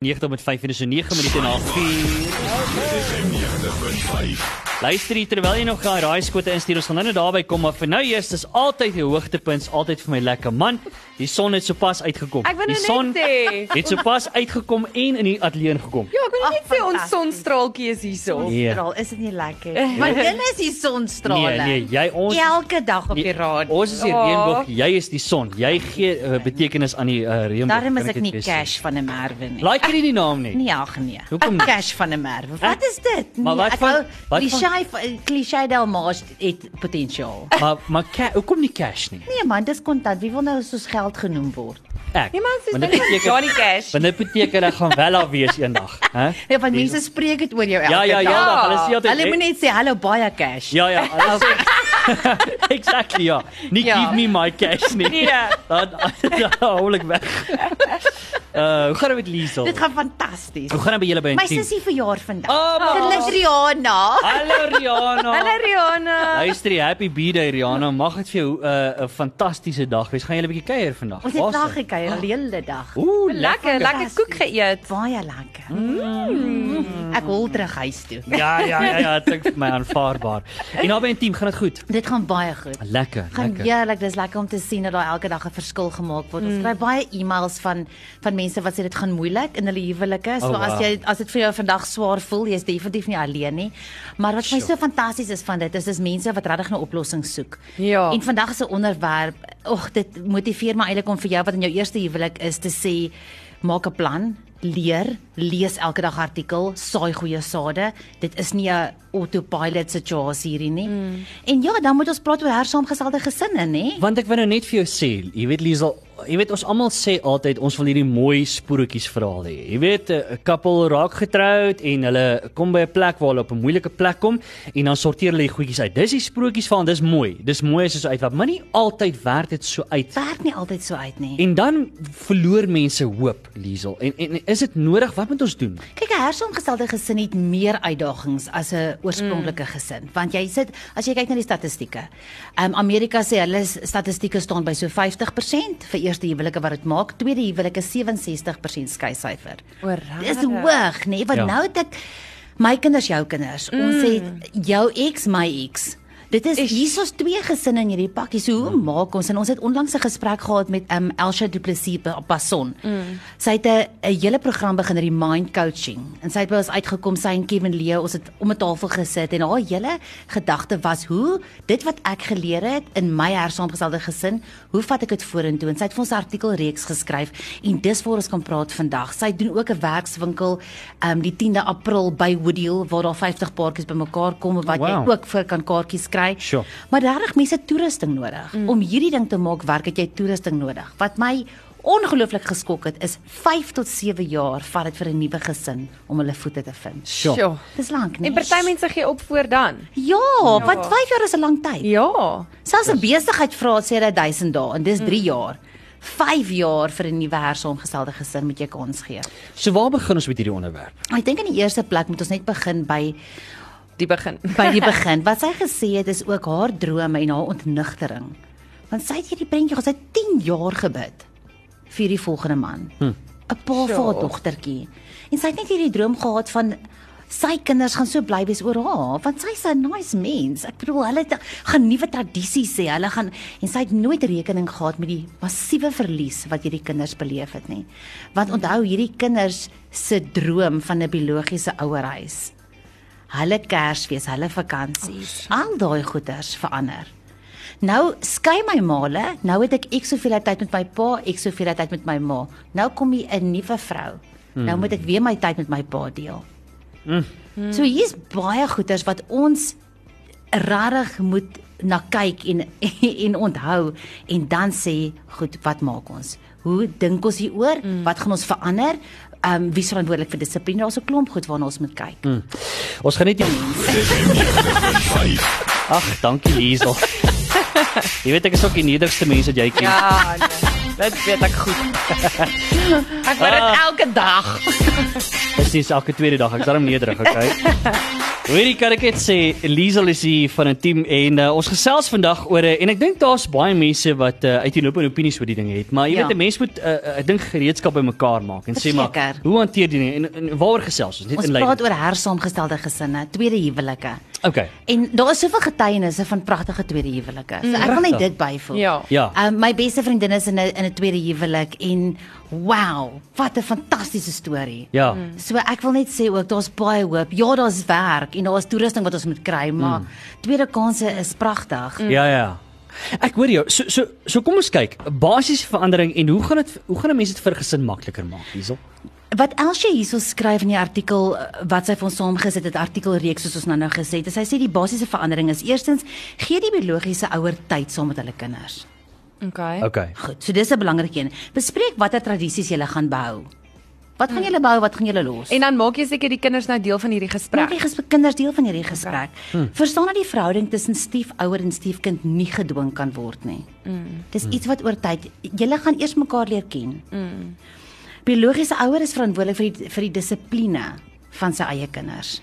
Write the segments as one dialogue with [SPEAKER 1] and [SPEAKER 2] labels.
[SPEAKER 1] 90.5 en dis so 9 minute na 4. Luister hier terwyl jy nog daai raaiskote instuur. Ons gaan nou net daarby kom, maar vir nou eers dis altyd die hoogtepunt, is altyd vir my lekker man. Die son het sopas uitgekom.
[SPEAKER 2] Ek wil nou
[SPEAKER 1] die son
[SPEAKER 2] net sê.
[SPEAKER 1] het sopas uitgekom en in die ateljee ingekom.
[SPEAKER 2] Ja, ek wil
[SPEAKER 3] Ag,
[SPEAKER 2] net sê ons
[SPEAKER 3] fantasties.
[SPEAKER 2] sonstraaltjie is hierso.
[SPEAKER 1] Nee.
[SPEAKER 3] Straal, is dit nie lekker? Want julle is die
[SPEAKER 1] Nee,
[SPEAKER 3] sonstrale.
[SPEAKER 1] nee, jy ons
[SPEAKER 3] Elke dag op die
[SPEAKER 1] nee,
[SPEAKER 3] raad.
[SPEAKER 1] Ons is die
[SPEAKER 2] Ja.
[SPEAKER 1] reënboog, jy is die son. Jy gee uh, betekenis aan die uh, reënboog.
[SPEAKER 3] Daarom
[SPEAKER 1] kan
[SPEAKER 3] is ek
[SPEAKER 1] dit
[SPEAKER 3] nie
[SPEAKER 1] bes sê.
[SPEAKER 3] cash van 'n merwe nie.
[SPEAKER 1] Like jy nie die naam nie.
[SPEAKER 3] Nee, ag nee.
[SPEAKER 1] Hoekom nie?
[SPEAKER 3] Cash van 'n merwe. Wat is dit?
[SPEAKER 1] Maar wat
[SPEAKER 3] nee,
[SPEAKER 1] van- wat
[SPEAKER 3] die
[SPEAKER 1] van-
[SPEAKER 3] shy klise Delmas het potensiaal.
[SPEAKER 1] Maar maar ca- hoekom nie cash nie?
[SPEAKER 3] Nee man, dis kontant. Wie wil nou soos geld genoem word?
[SPEAKER 1] Ek.
[SPEAKER 2] Nee man, soos
[SPEAKER 1] Want dit
[SPEAKER 2] dit is
[SPEAKER 1] beteken-
[SPEAKER 2] Johnny Cash.
[SPEAKER 1] Want dit beteken ek gaan wel daar wees eendag, hè?
[SPEAKER 3] Ja, want mense spreek dit oor jou
[SPEAKER 1] Nee.
[SPEAKER 3] elke
[SPEAKER 1] Ja, ja, ja,
[SPEAKER 3] dag.
[SPEAKER 1] dag, hulle sê altyd
[SPEAKER 3] Hulle moet net sê hallo baie cash.
[SPEAKER 1] Ja ja, alles. exactly ja. Nie
[SPEAKER 3] Ja.
[SPEAKER 1] give me my cash nie.
[SPEAKER 2] Nee.
[SPEAKER 1] Dan dan hou ek weg. Uh, hoe gaan dit met Liesel?
[SPEAKER 3] Dit gaan fantasties.
[SPEAKER 1] Hoe gaan dit Ah, by julle by
[SPEAKER 3] My
[SPEAKER 1] 10?
[SPEAKER 3] sussie verjaar vandag.
[SPEAKER 1] Oh, maar-
[SPEAKER 3] Gelukkig Rihanna.
[SPEAKER 1] Hallo Rihanna.
[SPEAKER 2] Hallo Rihanna.
[SPEAKER 1] Luister, die happy birthday Rihanna. Mag dit vir jou 'n uh, 'n fantastiese dag wees. Gaan julle 'n bietjie kuier vandag?
[SPEAKER 3] Ons het dag
[SPEAKER 1] Ah.
[SPEAKER 3] gekuier die hele dag.
[SPEAKER 1] Ooh,
[SPEAKER 2] Lekker, lekker koek geëet.
[SPEAKER 3] Baie lekker. Mm. Ek hol terug huis toe.
[SPEAKER 1] Ja, ja, ja, ja, dit klink vir my aanvaarbaar. En naby en team gaan dit goed.
[SPEAKER 3] Dit gaan baie goed.
[SPEAKER 1] Lekker,
[SPEAKER 3] Gaan ja,
[SPEAKER 1] lekker. Mm.
[SPEAKER 3] heerlik, dis lekker om te sien dat daar elke dag 'n verskil gemaak word. Ons kry baie e-mails van van mense wat sê dit gaan moeilik in hulle huwelike. So
[SPEAKER 1] Oh,
[SPEAKER 3] as
[SPEAKER 1] wow.
[SPEAKER 3] jy as dit vir jou vandag swaar voel, jy's definitief nie alleen nie. Maar wat my so fantasties is van dit is dis mense wat regtig 'n oplossing soek.
[SPEAKER 2] Ja.
[SPEAKER 3] En vandag se onderwerp, och, dit motiveer my eintlik om vir jou wat in jou eerste huwelik is te sê, maak 'n plan leer, lees elke dag artikel, saai goeie sade. Dit is nie 'n autopilot situasie hierdie nie. Mm. En ja, dan moet ons praat oor hersaamgestelde gesinne, nê?
[SPEAKER 1] Want ek wil nou net vir jou sê, jy weet Liesel, jy weet ons almal sê altyd ons wil hierdie mooi spoortjies verhaal hê. Jy weet eh, 'n 'n koppel raak getroud en hulle kom by 'n plek waar hulle op 'n moeilike plek kom en dan sorteer hulle die goedjies uit. Dis die spoortjies van dis mooi. Dis mooi as dit so uitwerk, maar nie altyd werk dit so uit.
[SPEAKER 3] Werk nie altyd so uit nie.
[SPEAKER 1] En dan verloor mense hoop, Liesel. En, en en is dit nodig? Wat moet ons doen?
[SPEAKER 3] Kyk, 'n hersaamgestelde gesin het meer uitdagings as 'n oorspronklike gesin, want jy sit as jy kyk na die statistieke. Ehm um, Amerika sê hulle s- statistieke staan by so 50% vir eerste huwelike wat dit maak, tweede huwelike 67% skeisyfer.
[SPEAKER 2] O,
[SPEAKER 3] Dis
[SPEAKER 2] regtig?
[SPEAKER 3] hoog, nê? Want
[SPEAKER 1] Ja.
[SPEAKER 3] ja. nou het ek my kinders, jou kinders. Mm. Ons het jou ex, my ex. Dit is hiersoos twee gesinne in hierdie pakkie. So hoe maak ons en ons het onlangs 'n gesprek gehad met um Elsha Du Plessis op Passon. Mm. Sy het 'n 'n hele program begin hierdie mind coaching en sy het by ons uitgekom sy en Kevin Leo ons het om 'n tafel gesit en haar hele gedagte was hoe dit wat ek geleer het in my hersaamgestelde gesin, hoe vat ek dit vorentoe? En sy het vir ons 'n artikelreeks geskryf en dis waar ons kan praat vandag. Sy doen ook 'n werkswinkel um die 10de April by Woodhill waar daar 50 paartjies bymekaar kom wat wow.
[SPEAKER 1] Wow.
[SPEAKER 3] jy ook ook vir kan kaartjies kry.
[SPEAKER 1] Sure.
[SPEAKER 3] Maar regtig mense het toerusting nodig. Mm. Om hierdie ding te maak werk het jy toerusting nodig. Wat my ongelooflik geskok het is 5 tot 7 jaar vat dit vir 'n nuwe gesin om hulle voete te vind.
[SPEAKER 1] Sjoe.
[SPEAKER 2] Sjoe.
[SPEAKER 3] Dis lank, nee.
[SPEAKER 2] En party mense gee op voor dan.
[SPEAKER 3] Ja, ja, want 5 jaar is 'n lang tyd.
[SPEAKER 2] Ja.
[SPEAKER 3] Selfs 'n besigheid vra sê hulle 1000 dae en dis
[SPEAKER 2] Mm.
[SPEAKER 3] 3 jaar. 5 jaar vir 'n nuwe hersaamgestelde gesin moet jy kans gee.
[SPEAKER 1] So waar begin ons met hierdie onderwerp?
[SPEAKER 3] Ek dink in die eerste plek moet ons net begin by
[SPEAKER 2] Die begin.
[SPEAKER 3] by die begin. Wat sy gesê het is ook haar drome en haar ontnigtering. Want sy het hierdie prentjie gehad, sy het 10 jaar gebid vir die volgende man. 'n hm. Pa vir haar
[SPEAKER 2] Sjoe.
[SPEAKER 3] dogtertjie. En sy het net hierdie droom gehad van sy kinders gaan so bly wees oor haar, want sy's 'n nice mens. Ek bedoel, hulle het- gaan nuwe tradisies hê. Hulle gaan en sy het nooit rekening gehad met die massiewe verlies wat hierdie kinders beleef het nie. Want onthou, hierdie kinders se droom van 'n biologiese ouerhuis hulle Kersfees, hulle vakansies, oh, al daai goeders verander. Nou skei my male, nou het ek ek soveel tyd met my pa, ek soveel tyd met my ma. Nou kom hier 'n nuwe vrou. Mm. Nou moet ek weer my tyd met my pa deel. Mm. So hier's baie goeders wat ons rarig moet na kyk en en onthou en dan sê goed wat maak ons hoe dink ons hieroor mm. wat gaan ons verander ehm um, wie is verantwoordelik vir dissipline daar's 'n klomp goed waarna ons moet kyk mm.
[SPEAKER 1] Hm. Ons gaan net die Ag, dankie Liesel. Jy weet ek is ook die nederigste mens wat jy ken.
[SPEAKER 2] Ja. nee. Dit weet ek goed.
[SPEAKER 1] Ah.
[SPEAKER 3] Ek word dit elke dag.
[SPEAKER 1] Dis nie elke tweede dag, ek's darm nederig, okay? Hoorie kan ek dit sê, Liesel is hier van 'n team en uh, ons gesels vandag oor 'n en ek dink daar's baie mense wat uh, uiteenlopende opinies oor die ding het, maar jy
[SPEAKER 3] Ja.
[SPEAKER 1] weet 'n mens moet uh, uh, ek dink gereedskap bymekaar maak en sê maar
[SPEAKER 3] Verseker.
[SPEAKER 1] hoe hanteer die ding en, en waaroor gesels ons net
[SPEAKER 3] Ons
[SPEAKER 1] in
[SPEAKER 3] praat
[SPEAKER 1] lei.
[SPEAKER 3] oor hersaamgestelde gesinne, tweede huwelike.
[SPEAKER 1] Okay.
[SPEAKER 3] En daar is soveel getuienisse van pragtige tweede huwelike. So ek wil net
[SPEAKER 1] Pragtig.
[SPEAKER 3] dit byvoeg.
[SPEAKER 2] Ja.
[SPEAKER 1] Ja.
[SPEAKER 3] Ehm, my beste vriendin is in 'n in 'n tweede huwelik en wow, wat 'n fantastiese storie.
[SPEAKER 1] Ja.
[SPEAKER 3] So ek wil net sê ook daar's baie hoop. Ja, daar's werk en daar's toerusting wat ons moet kry,
[SPEAKER 1] Mm.
[SPEAKER 3] maar tweede kansse is pragtig.
[SPEAKER 1] Ja ja. Ek hoor jou. So so so kom ons kyk. Basiese verandering en hoe gaan dit hoe gaan 'n mens dit vir gesin makliker maak, Liesel?
[SPEAKER 3] Wat Elsje hierso skryf in die artikel eh, wat sy vir ons saamgesit het, artikelreeks soos ons nou nou gesê het, is sy sê die basiese verandering is eerstens gee die biologiese ouer tyd saam met hulle kinders.
[SPEAKER 2] Okay.
[SPEAKER 1] Okay.
[SPEAKER 3] Goed, so dis 'n belangrike een. Bespreek watter tradisies julle gaan behou. Wat gaan julle behou, wat gaan julle los?
[SPEAKER 2] En dan maak jy seker die kinders nou deel van hierdie
[SPEAKER 3] Maak
[SPEAKER 2] gesprek.
[SPEAKER 3] die gesprek kinders deel van hierdie gesprek. Okay. Hmm. Verstaan dat die verhouding tussen stiefouer en stiefkind nie gedwing kan word nie.
[SPEAKER 1] Hmm.
[SPEAKER 3] Mm. Dis iets wat oor tyd julle gaan eers mekaar leer ken. Mm.
[SPEAKER 1] Hmm.
[SPEAKER 3] Biologiese ouer is verantwoordelik vir die vir die dissipline van sy eie kinders.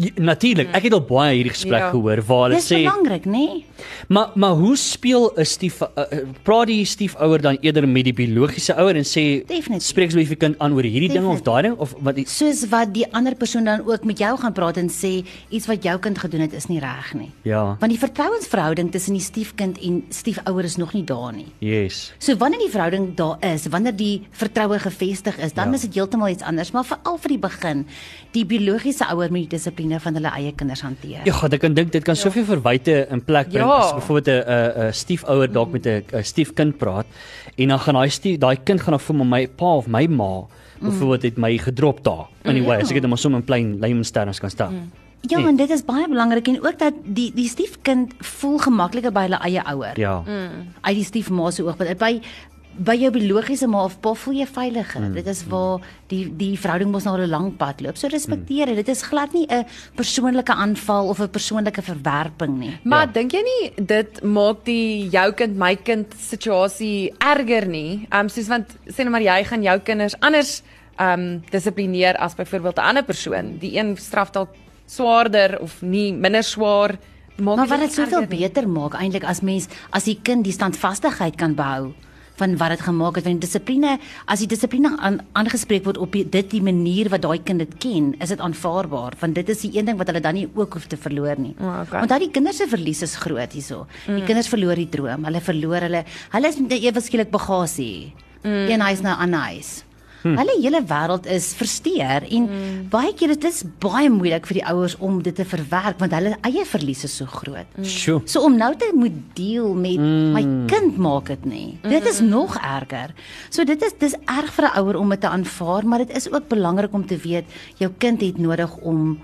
[SPEAKER 1] J- Natuurlik. Ek het al baie hierdie gesprek
[SPEAKER 2] Ja.
[SPEAKER 1] gehoor waar hulle
[SPEAKER 3] Mm. Dis
[SPEAKER 1] sê
[SPEAKER 3] belangrik, nê?
[SPEAKER 1] Maar maar hoe speel 'n stief uh, uh, praat die stiefouer dan eerder met die biologiese ouer en sê
[SPEAKER 3] Definitief.
[SPEAKER 1] spreek asseblief die kind aan oor hierdie ding of
[SPEAKER 3] Definitief.
[SPEAKER 1] daai ding of wat die,
[SPEAKER 3] Soos wat die ander persoon dan ook met jou gaan praat en sê iets wat jou kind gedoen het is nie reg nie.
[SPEAKER 1] ja.
[SPEAKER 3] Want die vertrouensverhouding tussen die stiefkind en stiefouer is nog nie daar nie.
[SPEAKER 1] Yes.
[SPEAKER 3] So wanneer die verhouding daar is, wanneer die vertroue gevestig is, dan
[SPEAKER 1] Ja.
[SPEAKER 3] ja. is dit heeltemal iets anders, maar veral vir die begin, die biologiese ouer moet die dissipline van hulle eie kinders hanteer.
[SPEAKER 1] Ja, God, ek kan dink dit kan soveel verwyte in plek bring
[SPEAKER 2] Ja.
[SPEAKER 1] as byvoorbeeld 'n 'n 'n stiefouer
[SPEAKER 3] Mm.
[SPEAKER 1] dalk met 'n 'n stiefkind praat en dan gaan daai stief daai kind gaan dan voel maar my pa of my
[SPEAKER 3] Mm.
[SPEAKER 1] ma byvoorbeeld het my gedrop daar. Anyway, as ek dit nou maar sommer in plain layman's terms kan stel.
[SPEAKER 3] ja en dit is baie belangrik en ook dat die die stiefkind voel gemakliker by hulle eie ouer. Hmm.
[SPEAKER 1] Ja.
[SPEAKER 3] Uit die stiefma se oogpunt. By by jou biologiese ma of pa voel jy veiliger.
[SPEAKER 1] Hmm.
[SPEAKER 3] Mm. Dit is waar die die verhouding mos na 'n lang pad loop. So respekteer
[SPEAKER 1] Hmm.
[SPEAKER 3] dit. Dit is glad nie 'n persoonlike aanval of 'n persoonlike verwerping nie.
[SPEAKER 2] Maar
[SPEAKER 1] Ja.
[SPEAKER 2] ja. dink jy nie dit maak die jou kind my kind situasie erger nie? Ehm um, soos want sê nou maar jy gaan jou kinders anders ehm um, dissiplineer as byvoorbeeld 'n ander persoon. Die een straf dalk swaarder of nie minder swaar. Maak
[SPEAKER 3] Maar
[SPEAKER 2] nie
[SPEAKER 3] wat dit soveel
[SPEAKER 2] erger nie.
[SPEAKER 3] beter maak eintlik as mens as die kind die standvastigheid kan behou van wat dit gemaak het want die dissipline as die dissipline aan, aangespreek word op die, dit die manier wat daai kind dit ken is dit aanvaarbaar want dit is die een ding wat hulle dan nie ook hoef te verloor nie.
[SPEAKER 2] O, oké.
[SPEAKER 3] Onthou die kinders se verlies is groot hierso. Die kinders verloor die droom, hulle verloor hulle hulle is net ewe skielik bagasie. Mm. Een huis na 'n ander huis. Hmm. Hulle hele wêreld is versteur en hmm. baie keer dit is baie moeilik vir die ouers om dit te verwerk want hulle eie verlies is so groot.
[SPEAKER 1] Sjoe.
[SPEAKER 3] So om nou te moet deel met mm. my kind maak dit nie. Dit is nog erger. So dit is dis erg vir 'n ouer om dit te aanvaar, maar dit is ook belangrik om te weet jou kind het nodig om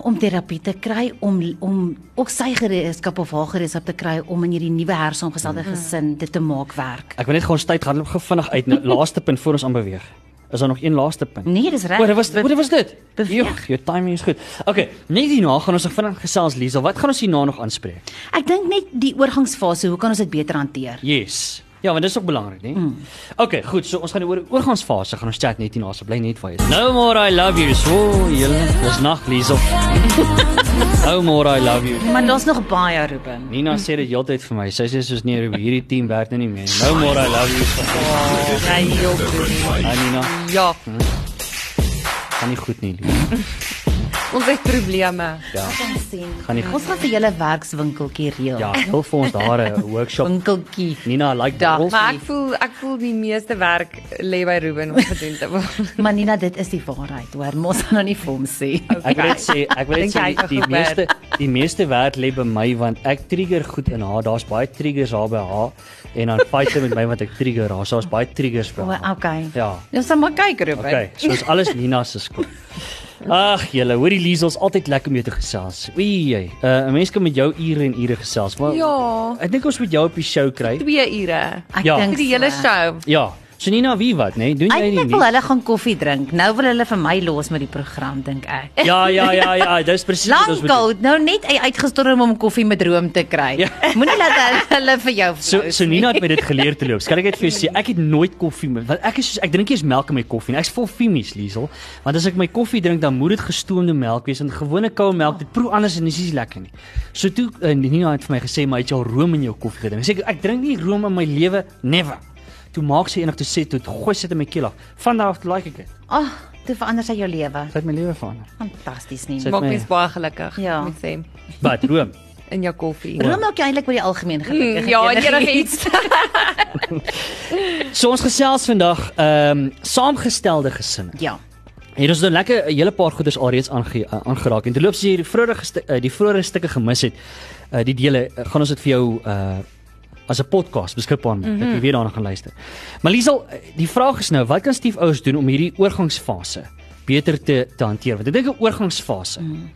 [SPEAKER 3] om terapie te kry om om ook sy gereedskap of haar gereedskap te kry om in hierdie nuwe hersaamgestelde gesin dit te maak werk.
[SPEAKER 1] Ek wil net gou ons tyd gaan loop gou vinnig uit. Nou, laaste punt voor ons aanbeweeg. Is daar nog een laaste punt?
[SPEAKER 3] Nee, dis
[SPEAKER 1] Wat
[SPEAKER 3] reg.
[SPEAKER 1] was wat was dit?
[SPEAKER 3] Beweeg.
[SPEAKER 1] Joch, jou timing is goed. Okay, net hierna gaan ons nog vinnig gesels Liesel. Wat gaan ons hierna nog aanspreek?
[SPEAKER 3] Ek dink net die oorgangsfase, hoe kan ons dit beter hanteer?
[SPEAKER 1] Yes. Ja, want dis ook belangrik, né? Mm. Okay, goed. So ons gaan oor oorgangsfase gaan ons chat net hierna. So bly net waar jy is. No more I love you. So, julle, dis nag Liesel. no more Nou I love you.
[SPEAKER 3] Maar daar's nog baie, Ruben.
[SPEAKER 1] Nina sê dit heeltyd vir my. Sy sê soos nee, Ruby, hierdie team werk nou nie meer. No more I love you.
[SPEAKER 3] Hy help.
[SPEAKER 1] Ah, Nina,
[SPEAKER 2] Nee, Ja,
[SPEAKER 1] gaan nie goed nie, Liesel.
[SPEAKER 2] ons het probleme.
[SPEAKER 1] Ja.
[SPEAKER 3] Ons sien.
[SPEAKER 1] Gaan nie goed.
[SPEAKER 3] Ons gaan vir julle werkswinkeltjie reël.
[SPEAKER 1] Ja, help vir ons daar 'n workshop.
[SPEAKER 3] Winkeltjie.
[SPEAKER 1] Nina, I like
[SPEAKER 2] Ja,
[SPEAKER 1] bottles.
[SPEAKER 2] maar ek voel ek voel die meeste werk lê by Ruben om gedoen te word.
[SPEAKER 3] Maar Nina, dit is die waarheid, hoor. Mos nou nie vir hom sê.
[SPEAKER 1] Ek wil net sê, ek wil net
[SPEAKER 2] Dink
[SPEAKER 1] sê
[SPEAKER 2] jy
[SPEAKER 1] die,
[SPEAKER 2] hy
[SPEAKER 1] die
[SPEAKER 2] gaan
[SPEAKER 1] meeste die meeste werk lê by my want ek trigger goed in haar. Daar's baie triggers haar by haar en dan fight sy met my want ek trigger haar. So daar's baie triggers by
[SPEAKER 3] O,
[SPEAKER 1] haar.
[SPEAKER 3] okay.
[SPEAKER 1] Ja.
[SPEAKER 2] Ons sal maar kyk Ruben.
[SPEAKER 1] Okay, so is alles Nina se skuld. Ag, julle, hoor die Liesels altyd lekker om jou te gesels. Oei, jy. Uh, 'n mens kan met jou ure en ure gesels, maar
[SPEAKER 2] Ja.
[SPEAKER 1] Ek dink ons moet jou op die show kry.
[SPEAKER 2] 2 ure.
[SPEAKER 3] Ek
[SPEAKER 1] Ja.
[SPEAKER 2] Vir
[SPEAKER 3] dink
[SPEAKER 2] die hele
[SPEAKER 3] so.
[SPEAKER 2] show.
[SPEAKER 1] Ja. So Nina, wie wat, né? Nee? Doen jy
[SPEAKER 3] Eintlik
[SPEAKER 1] nie?
[SPEAKER 3] wil hulle gaan koffie drink. Nou wil hulle vir my los met die program dink ek.
[SPEAKER 1] Ja, ja, ja, ja, dis presies wat ons bedoel.
[SPEAKER 3] Lankal, nou net hy uitgestorm om koffie met room te kry.
[SPEAKER 1] Ja.
[SPEAKER 3] Moenie laat hulle- hulle vir jou
[SPEAKER 1] So
[SPEAKER 3] flous
[SPEAKER 1] so
[SPEAKER 3] nie.
[SPEAKER 1] Nina het my dit geleer te loop. Kan ek dit vir jou sê? Ek het nooit koffie met want ek is soos ek drink eers melk in my koffie. en Ek's vol femies, Liesel. Want as ek my koffie drink, dan moet dit gestoomde melk wees en gewone koue melk. Dit proe anders en dis nie lekker nie. So toe uh, Nina het vir my gesê, "Maar het jy al room in jou koffie gedrink?" Ek sê ek, ek drink nie room in my lewe never. Toe maak sy enig toe sê toe gooi sit in my keel af. Van daardie af toe like ek dit.
[SPEAKER 3] Ag, oh, dit verander sy jou lewe.
[SPEAKER 1] Dit het my lewe verander.
[SPEAKER 3] Fantasties nie.
[SPEAKER 1] So-
[SPEAKER 2] Maak
[SPEAKER 1] my-
[SPEAKER 2] mens baie gelukkig,
[SPEAKER 3] Ja.
[SPEAKER 2] moet sê,
[SPEAKER 1] But room.
[SPEAKER 2] in jou koffie.
[SPEAKER 3] Room maak jou eintlik oor die algemeen gelukkig.
[SPEAKER 2] Ja,
[SPEAKER 3] en
[SPEAKER 2] enige
[SPEAKER 3] enigiets.
[SPEAKER 2] iets.
[SPEAKER 1] So ons gesels vandag ehm um, saamgestelde gesinne.
[SPEAKER 3] Ja.
[SPEAKER 1] Hier is nou lekker 'n hele paar goeders alreeds aange, uh, aangeraak en terloops as jy die vorige stu- uh, die vorige stukke gemis het, uh, die dele uh, gaan ons dit vir jou uh as 'n podcast beskikbaar maak. Mm -hmm. Ek jy weer daarna gaan luister. Maar Liesel, uh, die vraag is nou, wat kan stiefouers doen om hierdie oorgangsfase beter te te hanteer? Want ek dink 'n oorgangsfase, mm,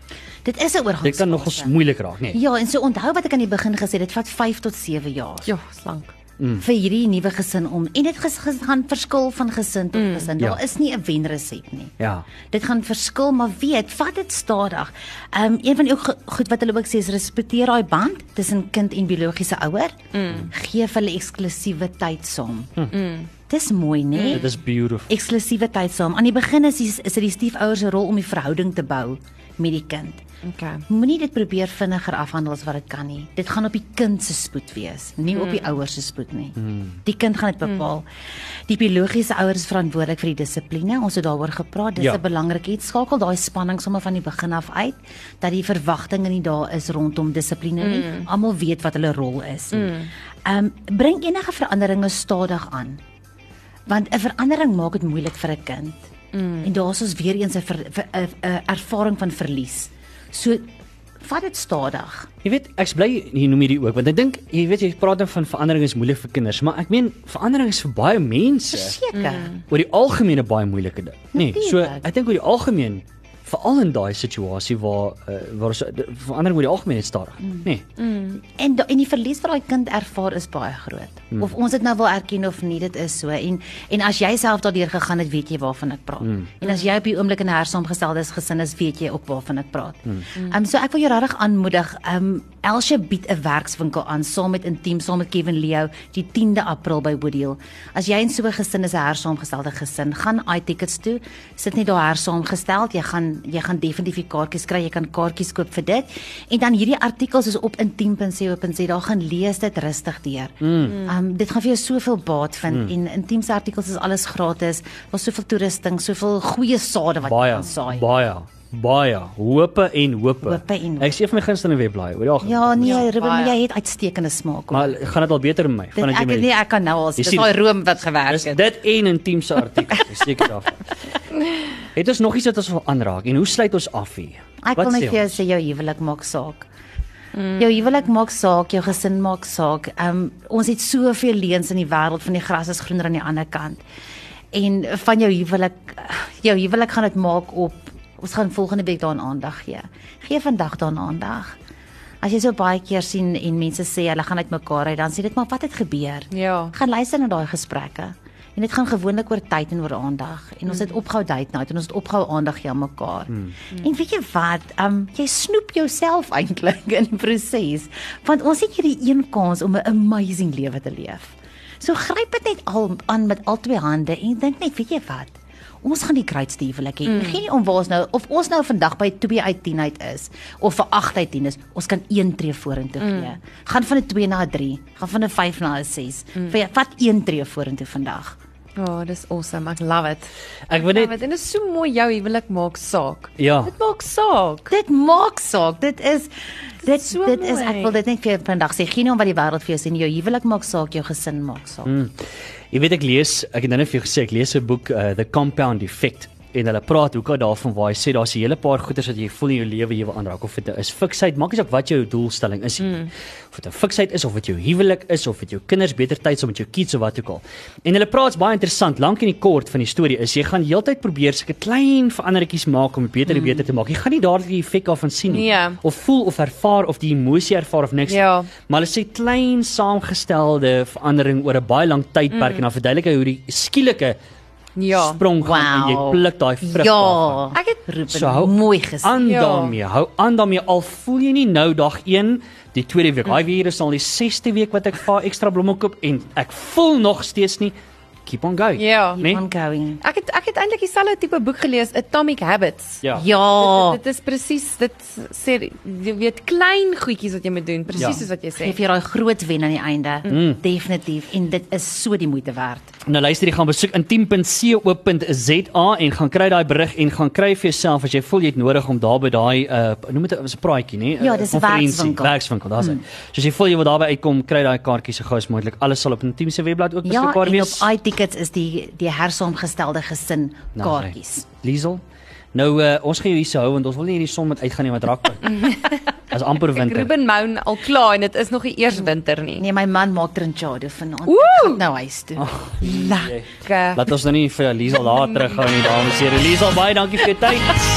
[SPEAKER 3] Dit is 'n oorgang.
[SPEAKER 1] dit kan nogals moeilik raak, nee.
[SPEAKER 3] Ja, en so onthou wat ek aan die begin gesê het, dit vat 5 tot 7 jaar
[SPEAKER 2] Ja, slank.
[SPEAKER 1] Mm.
[SPEAKER 3] vir hierdie nuwe gesin om en dit ges- ges- gaan verskil van gesin tot gesin.
[SPEAKER 1] Ja.
[SPEAKER 3] Daar is nie 'n wenresep nie.
[SPEAKER 1] Ja.
[SPEAKER 3] Dit gaan verskil, maar weet, vat dit stadig. Ehm um, een van die ook go- goed wat hulle ook sê is respekteer daai band tussen kind en biologiese ouer. Mm. Geef hulle eksklusiewe tyd saam. Mm. Dis mooi, né?
[SPEAKER 1] Mm, Dit is beautiful.
[SPEAKER 3] Eksklusiewe tyd saam. Aan die begin is die, is dit die stiefouers se rol om die verhouding te bou met die kind.
[SPEAKER 2] Okay.
[SPEAKER 3] Moenie dit probeer vinniger afhandel as wat dit kan nie. Dit gaan op die kind se spoed wees, nie op die ouers se spoed nie. Die kind gaan dit bepaal. Die biologiese ouers is verantwoordelik vir die dissipline. Ons het daaroor gepraat. Dis
[SPEAKER 1] Ja.
[SPEAKER 3] 'n belangrike iets. Skakel daai spanning sommer van die begin af uit dat die verwagtinge nie daar is rondom dissipline nie. Almal weet wat hulle rol is. Ehm bring enige veranderinge stadig aan. Want 'n verandering maak dit moeilik vir 'n kind. Mm. En daar's ons weer eens 'n ver- ver- 'n 'n ervaring van verlies. So vat dit stadig.
[SPEAKER 1] Jy weet, ek's bly jy noem hierdie ook want ek dink jy weet jy praat dan van verandering is moeilik vir kinders, maar ek meen verandering is vir baie mense.
[SPEAKER 3] Verseker. Mm.
[SPEAKER 1] oor die algemeen 'n baie moeilike ding. Nee, so
[SPEAKER 3] Natuurlik.
[SPEAKER 1] ek dink oor die algemeen veral in daai situasie waar uh, waar so, de- verandering oor die algemeen net stadig. Mm. Nee.
[SPEAKER 3] En da, en die verlies wat daai kind ervaar is baie groot. Mm. Of ons dit nou wil erken of nie, dit is so. En en as jy self daardeur gegaan het, weet jy waarvan ek praat. Mm. En as jy op die oomblik in 'n hersaamgesteldes gesin is, weet jy ook waarvan ek praat. Ehm mm. um, so ek wil jou regtig aanmoedig. Ehm um, Elsje bied 'n werkswinkel aan saam met Intiem, saam met Kevin Leo, die 10de April by Woodhill. As jy in so 'n gesin is 'n hersaamgestelde gesin, gaan iTickets toe. Sit net daar hersaamgestel. Jy gaan jy gaan definitief die kaartjies kry. Jy kan kaartjies koop vir dit. En dan hierdie artikels is op intiem.co.za. Daar gaan lees dit rustig deur. Ehm
[SPEAKER 1] Mm.
[SPEAKER 3] um, dit gaan vir jou soveel baat vind mm. en Intiem se artikels is alles gratis. Daar's soveel toerusting, soveel goeie sade wat jy
[SPEAKER 1] Baie
[SPEAKER 3] kan saai.
[SPEAKER 1] baie baie hope en hope.
[SPEAKER 3] Hope en hope.
[SPEAKER 1] Ek sê van my gunsteling webblaai oor die algemeen.
[SPEAKER 3] Ja, nee, ja, Ruben,
[SPEAKER 2] baie.
[SPEAKER 3] jy het uitstekende smaak. hoor.
[SPEAKER 1] Maar gaan dit al beter met my
[SPEAKER 3] Dit,
[SPEAKER 1] vandat jy
[SPEAKER 3] ek
[SPEAKER 1] my
[SPEAKER 3] nee, ek kan nou al
[SPEAKER 1] Jy
[SPEAKER 3] sien. Dis
[SPEAKER 1] sien-
[SPEAKER 3] daai room wat gewerk
[SPEAKER 1] Dis
[SPEAKER 3] het.
[SPEAKER 1] dit en intiem se artikels, is seker daarvan. Het ons nog iets wat ons wil aanraak en hoe sluit ons af hier?
[SPEAKER 3] Ek
[SPEAKER 1] Wat
[SPEAKER 3] wil net
[SPEAKER 1] sê
[SPEAKER 3] vir jou
[SPEAKER 1] ons?
[SPEAKER 3] sê jou huwelik maak saak. Mm. Jou huwelik maak saak, jou gesin maak saak. Um ons het soveel leuns in die wêreld van die gras is groener aan die ander kant. En van jou huwelik jou huwelik gaan dit maak op ons gaan volgende week daaraan aandag gee. Gee vandag daaraan aandag. As jy so baie keer sien en mense sê hulle gaan uitmekaar uit, dan sê dit maar wat het gebeur.
[SPEAKER 2] Ja.
[SPEAKER 3] Gaan luister na daai gesprekke. En dit gaan gewoonlik oor tyd en oor aandag. En ons het opgehou date night en ons het opgehou aandag gee aan mekaar. En weet jy wat? Um jy snoep jouself eintlik in die proses, want ons het hierdie een kans om 'n amazing lewe te leef. So gryp dit net al aan met al twee hande en dink net, weet jy wat? Ons gaan die grootste huwelik hê. Mm. Geen nie om waar ons nou of ons nou vandag by 2 uit 10 uit is of vir 8 uit 10 is, ons kan een tree vorentoe gee. Mm. Gaan van 'n 2 na 'n 3, gaan van 'n 5 na 'n 6. Mm. Vat een tree vorentoe vandag.
[SPEAKER 2] Ja, oh, dis awesome. Ek love it.
[SPEAKER 1] Ek wil
[SPEAKER 2] Love
[SPEAKER 1] net
[SPEAKER 2] it. En dit is so mooi jou huwelik maak saak.
[SPEAKER 1] Ja.
[SPEAKER 2] Dit maak saak.
[SPEAKER 3] Dit maak saak. Dit is dit
[SPEAKER 2] so
[SPEAKER 3] dit is ek
[SPEAKER 2] mooi.
[SPEAKER 3] wil dit net vir jou vandag sê, geen om wat die wêreld vir jou sê nie, jou huwelik maak saak, jou gesin maak saak. Mm.
[SPEAKER 1] Ehm, Jy weet ek lees, ek het nou net vir jou gesê ek lees 'n boek uh, The eh, Compound Effect en hulle praat hoeka daarvan waar hy sê daar's 'n hele paar goeders wat jy voel in jou lewe jy wil aanraak of dit nou is fiksheid, maak nie saak wat jou doelstelling is nie. Mm. Of dit 'n fiksheid is of dit jou huwelik is of dit jou kinders beter tyd saam met jou kids of wat ook al. En hulle praat's baie interessant, lank en die kort van die storie is jy gaan heeltyd probeer seker klein veranderingkies maak om dit beter en mm. beter te maak. Jy gaan nie dadelik die effek daarvan sien nie
[SPEAKER 2] Nee.
[SPEAKER 1] of voel of ervaar of die emosie ervaar of niks. nie.
[SPEAKER 2] Ja.
[SPEAKER 1] Maar hulle sê klein saamgestelde verandering oor 'n baie lang tydperk mm. en dan verduidelik hy hoe die skielike
[SPEAKER 2] Ja.
[SPEAKER 1] sprong gaan en jy
[SPEAKER 3] Wow.
[SPEAKER 1] pluk daai vrug daarvan.
[SPEAKER 3] Ja.
[SPEAKER 2] Ek het-
[SPEAKER 3] roep
[SPEAKER 1] So hou
[SPEAKER 3] mooi gesê.
[SPEAKER 1] Aan
[SPEAKER 2] Ja.
[SPEAKER 1] daarmee, hou aan daarmee al voel jy nie nou dag 1 die tweede week. Daai weer is al die 6ste week wat ek vir ekstra blomme koop en ek voel nog steeds nie keep on going.
[SPEAKER 2] Ja.
[SPEAKER 1] Nee?
[SPEAKER 3] I'm going.
[SPEAKER 2] Ek het ek het eintlik dieselfde tipe boek gelees, Atomic Habits.
[SPEAKER 1] Ja.
[SPEAKER 3] Ja.
[SPEAKER 2] Dit, dit is presies dit sê jy weet klein goedjies wat jy moet doen, presies
[SPEAKER 1] Ja.
[SPEAKER 2] soos wat jy sê.
[SPEAKER 3] Geef jy daai groot wen aan die einde. Mm. Definitief en dit is so die moeite werd.
[SPEAKER 1] Nou luister, jy gaan besoek intiem.co.za en gaan kry daai berig en gaan kry vir jouself as jy voel jy het nodig om daar by daai uh noem dit 'n is 'n praatjie, nee? Eh, nê? 'n
[SPEAKER 3] Ja, dis 'n
[SPEAKER 1] konferensie,
[SPEAKER 3] werkswinkel. Hmm.
[SPEAKER 1] Werkswinkel, daar's hy. Mm. So as jy voel jy wil daarby uitkom, kry daai kaartjies so gou as moontlik. Alles sal op Intiem se webblad ook
[SPEAKER 3] Ja,
[SPEAKER 1] beskikbaar
[SPEAKER 3] en op
[SPEAKER 1] wees.
[SPEAKER 3] iTickets is die die hersaamgestelde gesin kaartjies.
[SPEAKER 1] Nou, Liesel. Nou uh, ons gaan jou hier so hou want ons wil nie hierdie son met uitgaan nie want raak. As amper
[SPEAKER 2] Ek
[SPEAKER 1] winter.
[SPEAKER 2] Ruben Moun al klaar en dit is nog nie eers winter nie.
[SPEAKER 3] Nee, my man maak trinchado vanaand.
[SPEAKER 2] Oeh!
[SPEAKER 3] Ek gaan Nou huis toe. Oh,
[SPEAKER 2] Lekker.
[SPEAKER 1] Laat ons nou nie vir Liesel daar terughou nie, dames en here. Liesel, baie dankie vir jou tyd.